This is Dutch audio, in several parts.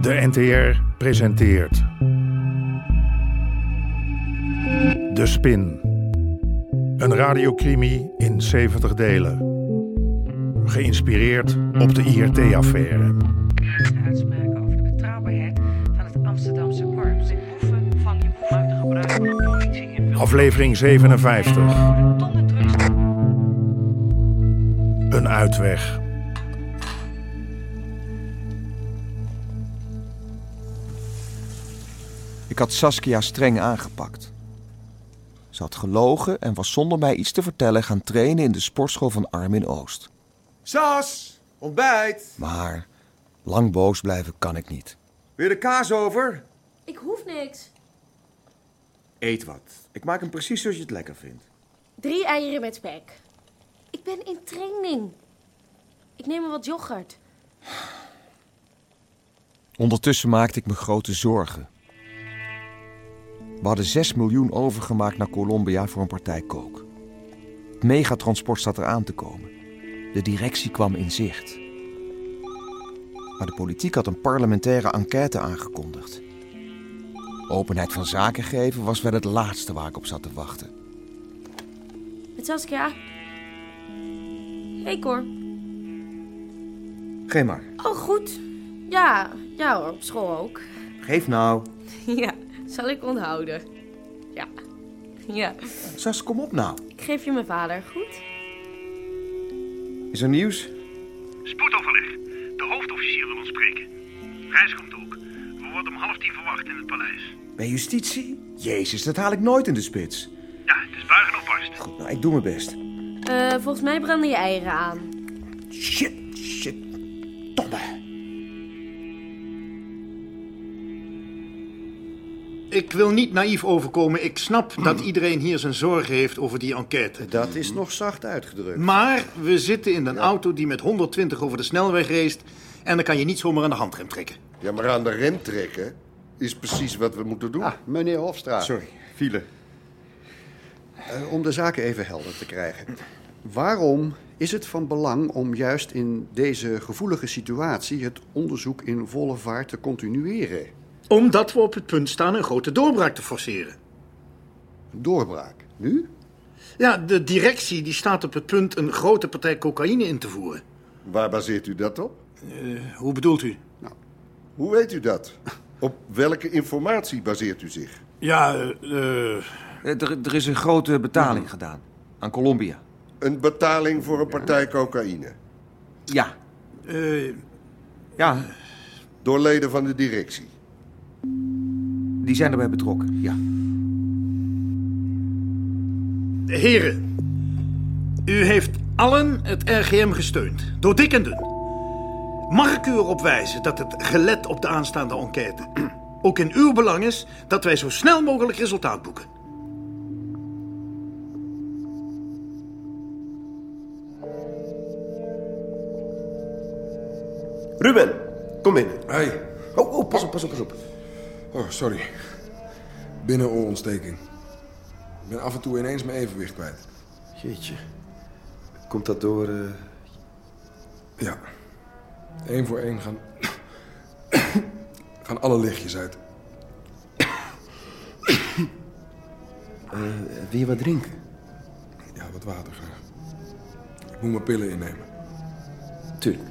De NTR presenteert. De Spin. Een radiocrimi in 70 delen. Geïnspireerd op de IRT-affaire. uitspraken over de betrouwbaarheid van het Amsterdamse Dus korps. De boeven van je boeven uit gebruik van de politie in Wilmington. Aflevering 57. Worden tonnen drugs Een uitweg. Ik had Saskia streng aangepakt. Ze had gelogen en was zonder mij iets te vertellen gaan trainen in de sportschool van Armin Oost. Sas, ontbijt. Maar lang boos blijven kan ik niet. Weer de kaas over? Ik hoef niks. Eet wat. Ik maak hem precies zoals je het lekker vindt. Drie eieren met spek. Ik ben in training. Ik neem me wat yoghurt. Ondertussen maakte ik me grote zorgen. We hadden 6 miljoen overgemaakt naar Colombia voor een partij kook. Het megatransport zat eraan te komen. De directie kwam in zicht. Maar de politiek had een parlementaire enquête aangekondigd. Openheid van zaken geven was wel het laatste waar ik op zat te wachten. Met Saskia. Hey Cor. Geen maar. Oh, goed. Ja, ja hoor, op school ook. Geef nou. Ja, zal ik onthouden. Ja. Ja. Sas, kom op nou. Ik geef je mijn vader, goed? Is er nieuws? Spoedoverleg. De hoofdofficier wil ons spreken. Gijs komt ook. We worden om half tien verwacht in het paleis. Bij justitie? Jezus, dat haal ik nooit in de spits. Ja, het is buigen op barst. Goed, nou, ik doe mijn best. Eh, volgens mij branden je eieren aan. Shit, shit. Domme. Ik wil niet naïef overkomen. Ik snap dat iedereen hier zijn zorgen heeft over die enquête. Dat is nog zacht uitgedrukt. Maar we zitten in een auto die met 120 over de snelweg race. En dan kan je niet zomaar aan de handrem trekken. Ja, maar aan de rem trekken is precies wat we moeten doen. Ah, Meneer Hofstra, Sorry, file. eh, om de zaken even helder te krijgen. Waarom is het van belang om juist in deze gevoelige situatie het onderzoek in volle vaart te continueren? Omdat we op het punt staan een grote doorbraak te forceren. Doorbraak. Nu? Ja, de directie die staat op het punt een grote partij cocaïne in te voeren. Waar baseert u dat op? Hoe bedoelt u? Hoe weet u dat? Op welke informatie baseert u zich? Ja, eh... eh, Er, er is een grote betaling gedaan aan Colombia. Een betaling voor een partij cocaïne. Ja, eh, ja, Door leden van de directie. die zijn erbij betrokken. Ja. Heren, u heeft allen het RGM gesteund, door dik en dun. Mag ik u erop wijzen dat het gelet op de aanstaande enquête ook in uw belang is dat wij zo snel mogelijk resultaat boeken? Ruben, kom binnen. Hey, Oh, oh, pas op, pas op, pas op. oh sorry. Binnenoorontsteking. Ik ben af en toe ineens mijn evenwicht kwijt. Jeetje. Komt dat door... eh, Ja. Eén voor één gaan... gaan alle lichtjes uit. Eh, wil je wat drinken? Ja, wat water graag. Ik moet mijn pillen innemen. Tuurlijk.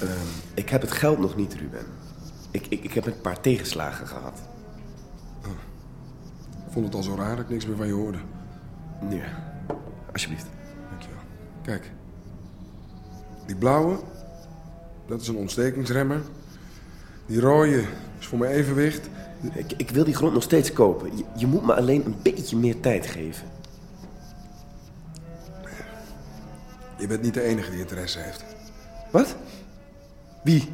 Ehm, ik heb het geld nog niet, Ruben. Ik, ik, ik heb een paar tegenslagen gehad. Ik vond het al zo raar dat ik niks meer van je hoorde. Nu, alsjeblieft. Dankjewel. Kijk. Die blauwe, dat is een ontstekingsremmer. Die rode is voor mijn evenwicht. Ik, ik wil die grond nog steeds kopen. Je, je moet me alleen een beetje meer tijd geven. Je bent niet de enige die interesse heeft. Wat? Wie?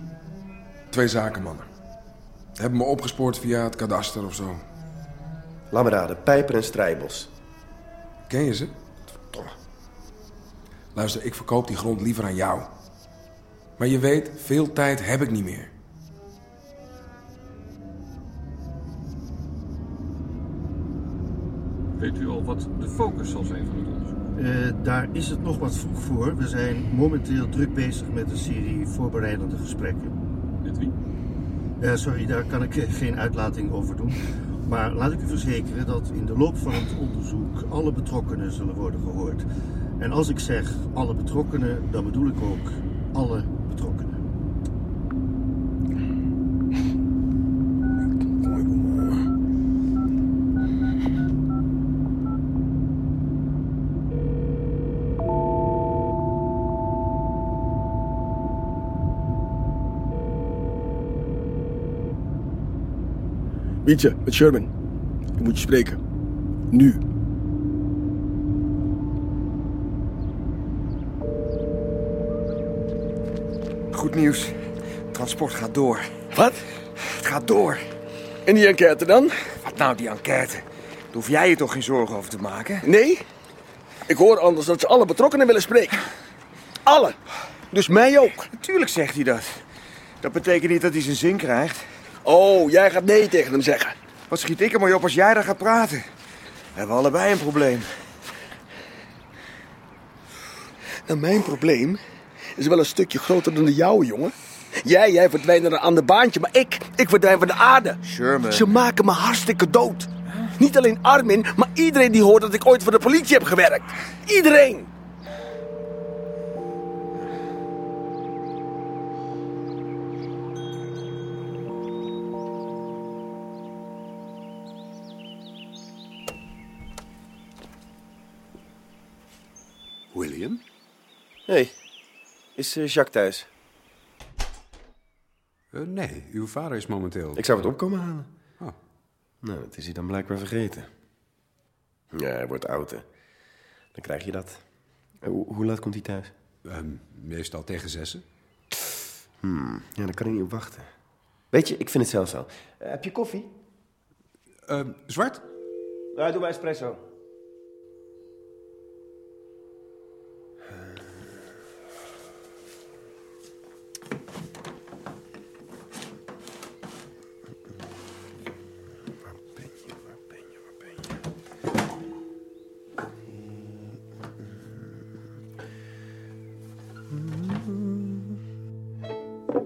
Twee zakenmannen. Hebben me opgespoord via het kadaster of zo. Laat me raden, Pijper en Strijbos. Ken je ze? Verdomme. Luister, ik verkoop die grond liever aan jou. Maar je weet, veel tijd heb ik niet meer. Weet u al wat de focus zal zijn van het onderzoek? Eh, daar is het nog wat vroeg voor. We zijn momenteel druk bezig met een serie voorbereidende gesprekken. Met wie? Eh, sorry, daar kan ik eh, geen uitlating over doen. Maar laat ik u verzekeren dat in de loop van het onderzoek alle betrokkenen zullen worden gehoord. En als ik zeg alle betrokkenen, dan bedoel ik ook alle betrokkenen. Wientje, met Sherman. Ik moet je spreken. Nu. Goed nieuws. Transport gaat door. Wat? Het gaat door. En die enquête dan? Wat nou, die enquête? Daar hoef jij je toch geen zorgen over te maken? Nee? Ik hoor anders dat ze alle betrokkenen willen spreken. Alle. Dus mij ook. Natuurlijk zegt hij dat. Dat betekent niet dat hij zijn zin krijgt. Oh, jij gaat nee tegen hem zeggen. Wat schiet ik er maar op als jij daar gaat praten? We hebben allebei een probleem. Nou, mijn probleem is wel een stukje groter dan de jouwe, Oh, jongen. Jij, jij verdwijnt naar een ander baantje, maar ik, ik verdwijn van de aarde. Sherman. Ze maken me hartstikke dood. Niet alleen Armin, maar iedereen die hoort dat ik ooit voor de politie heb gewerkt. Iedereen. William? Hé, hey, is eh, Jacques thuis? Eh, nee, uw vader is momenteel... Ik zou het opkomen halen. Oh. Nou, dat is hij dan blijkbaar vergeten. Ja, hij wordt oud, hè. Dan krijg je dat. Eh, Hoe, hoe laat komt hij thuis? Ehm, meestal tegen zessen. Hmm, ja, daar kan ik niet op wachten. Weet je, ik vind het zelfs al. Eh, heb je koffie? Ehm, zwart? Ja, doe maar espresso.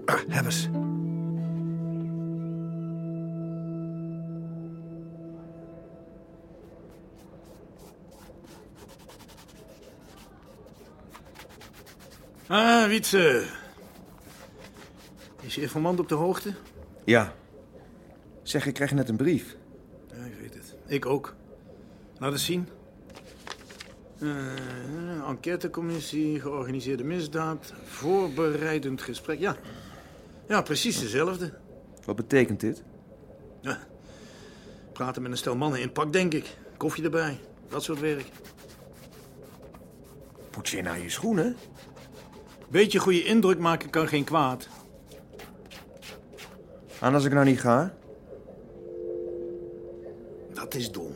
Ah, hebben ze. Ah, Wietse. Is je informant op de hoogte? Ja. Zeg, ik kreeg net een brief. Ja, ik weet het. Ik ook. Laat eens zien. Eh, enquêtecommissie, georganiseerde misdaad, voorbereidend gesprek. Ja, ja precies dezelfde. Wat betekent dit? Ja. Praten met een stel mannen in pak, denk ik. Koffie erbij, dat soort werk. Poets je nou je schoenen? Beetje goede indruk maken kan geen kwaad. Aan als ik nou niet ga? Dat is dom.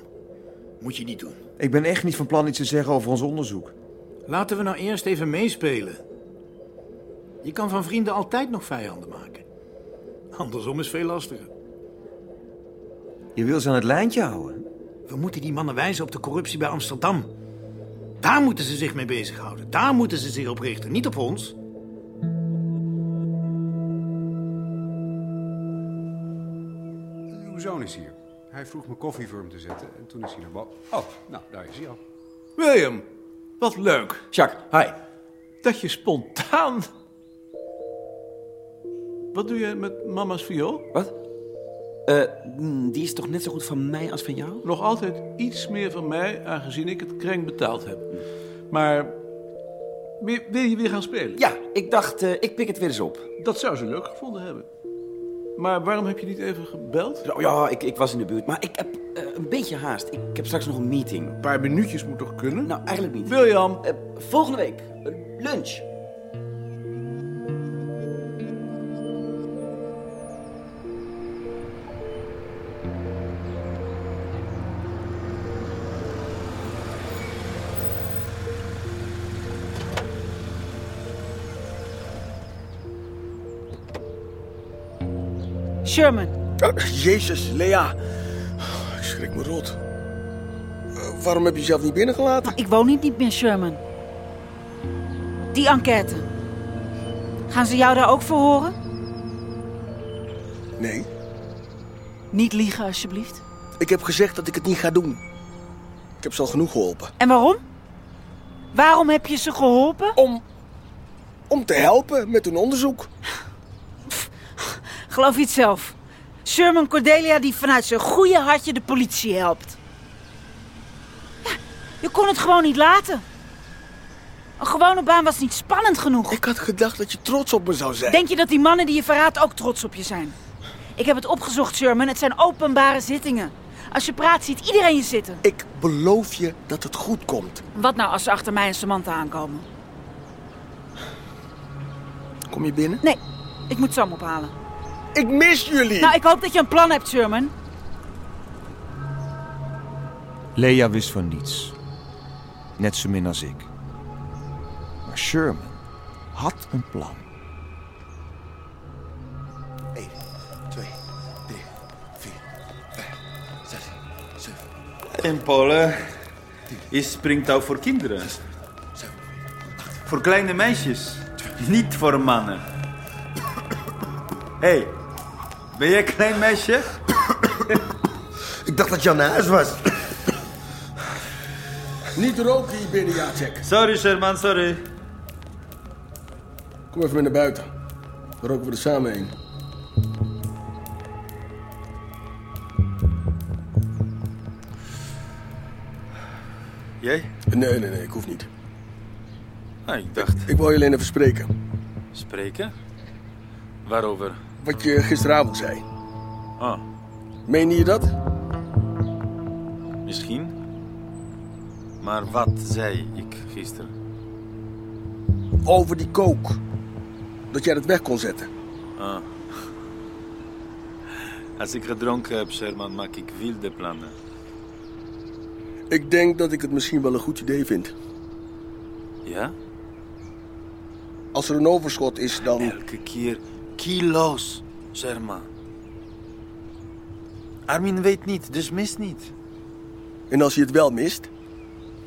Moet je niet doen. Ik ben echt niet van plan iets te zeggen over ons onderzoek. Laten we nou eerst even meespelen. Je kan van vrienden altijd nog vijanden maken. Andersom is veel lastiger. Je wil ze aan het lijntje houden. We moeten die mannen wijzen op de corruptie bij Amsterdam. Daar moeten ze zich mee bezighouden. Daar moeten ze zich op richten, niet op ons. Uw zoon is hier. Hij vroeg me koffie voor hem te zetten en toen is hij naar boven. Oh, nou, daar is hij al. William, wat leuk. Jacques, hi. Dat je spontaan... Wat doe je met mama's viool? Wat? die is toch net zo goed van mij als van jou? Nog altijd iets meer van mij, aangezien ik het kreng betaald heb. Maar wil wil je weer gaan spelen? Ja, ik dacht, eh, ik pik het weer eens op. Dat zou ze leuk gevonden hebben. Maar waarom heb je niet even gebeld? Nou Oh ja, ik, ik was in de buurt, maar ik heb eh, een beetje haast. Ik heb straks nog een meeting. Een paar minuutjes moet toch kunnen? Nou, eigenlijk niet. William, Eh, volgende week, eh, lunch. Sherman, Nou. Ah, Jezus, Lea. Ik schrik me rot. Eh, Waarom heb je jezelf niet binnengelaten? Ik woon hier niet meer, Sherman. Die enquête. Gaan ze jou daar ook voor horen? Nee, Niet liegen, alsjeblieft. ik heb gezegd dat ik het niet ga doen. Ik heb ze al genoeg geholpen. En waarom? Waarom heb je ze geholpen? Om. Om te helpen met hun onderzoek. Geloof je het zelf? Sherman Cordelia die vanuit zijn goede hartje de politie helpt. Ja, je kon het gewoon niet laten. Een gewone baan was niet spannend genoeg. Ik had gedacht dat je trots op me zou zijn. Denk je dat die mannen die je verraadt ook trots op je zijn? Ik heb het opgezocht, Sherman. Het zijn openbare zittingen. Als je praat, ziet iedereen je zitten. Ik beloof je dat het goed komt. Wat nou als ze achter mij en Samantha aankomen? Kom je binnen? Nee, ik moet Sam ophalen. Ik mis jullie! Nou, ik hoop dat je een plan hebt, Sherman. Lea wist van niets. Net zo min als ik. Maar Sherman had een plan. En Paula is springtouw voor kinderen. Voor kleine meisjes, niet voor mannen. Hé, hey, ben jij een klein meisje? Ik dacht dat je aan huis was. Niet roken hier binnen, Jacek. Sorry, Sherman, sorry. Kom even mee naar buiten. Dan roken we er samen heen. Jij? Nee, nee, nee, ik hoef niet. Ah, ik dacht, Ik wil je alleen even spreken. spreken? Waarover? Wat je gisteravond zei. Ah, Meen je dat? misschien. Maar wat zei ik gisteren? Over die kook. Dat jij dat weg kon zetten. Ah. Als ik gedronken heb, Sherman, maak ik wilde plannen. Ik denk dat ik het misschien wel een goed idee vind. Ja? Als er een overschot is, dan... Elke keer kilo's, Sherman. Armin weet niet, dus mist niet. En als je het wel mist?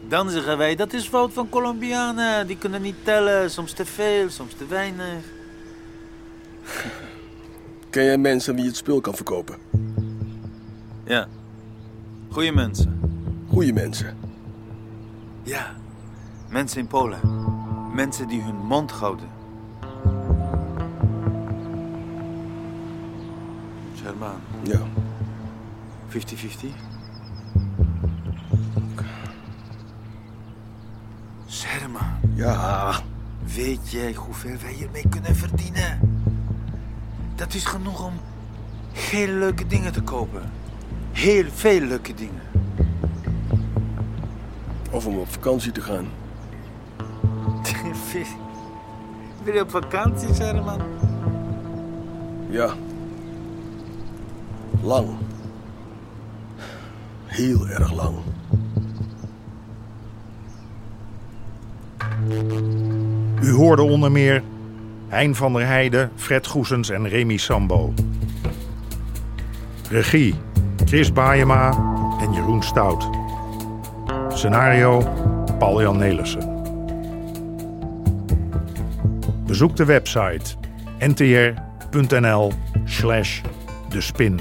Dan zeggen wij, dat is fout van Colombianen. Die kunnen niet tellen, soms te veel, soms te weinig. Ken jij mensen aan wie je het spul kan verkopen? Ja. Goeie mensen. Goeie mensen. Ja. Mensen in Polen. Mensen die hun mond houden. Sherman. Ja. 50-50? Sherman. Ja. Weet jij hoeveel wij hiermee kunnen verdienen? Dat is genoeg om heel leuke dingen te kopen. Heel veel leuke dingen. Of om op vakantie te gaan. Wil je op vakantie, Sherman? Ja. Lang. Heel erg lang. U hoorde onder meer Hein van der Heijden, Fred Goesens en Remy Sambo. Regie Chris Baayema en Jeroen Stout. Scenario Paul-Jan Nelissen. Bezoek de website ntr.nl slash de spin.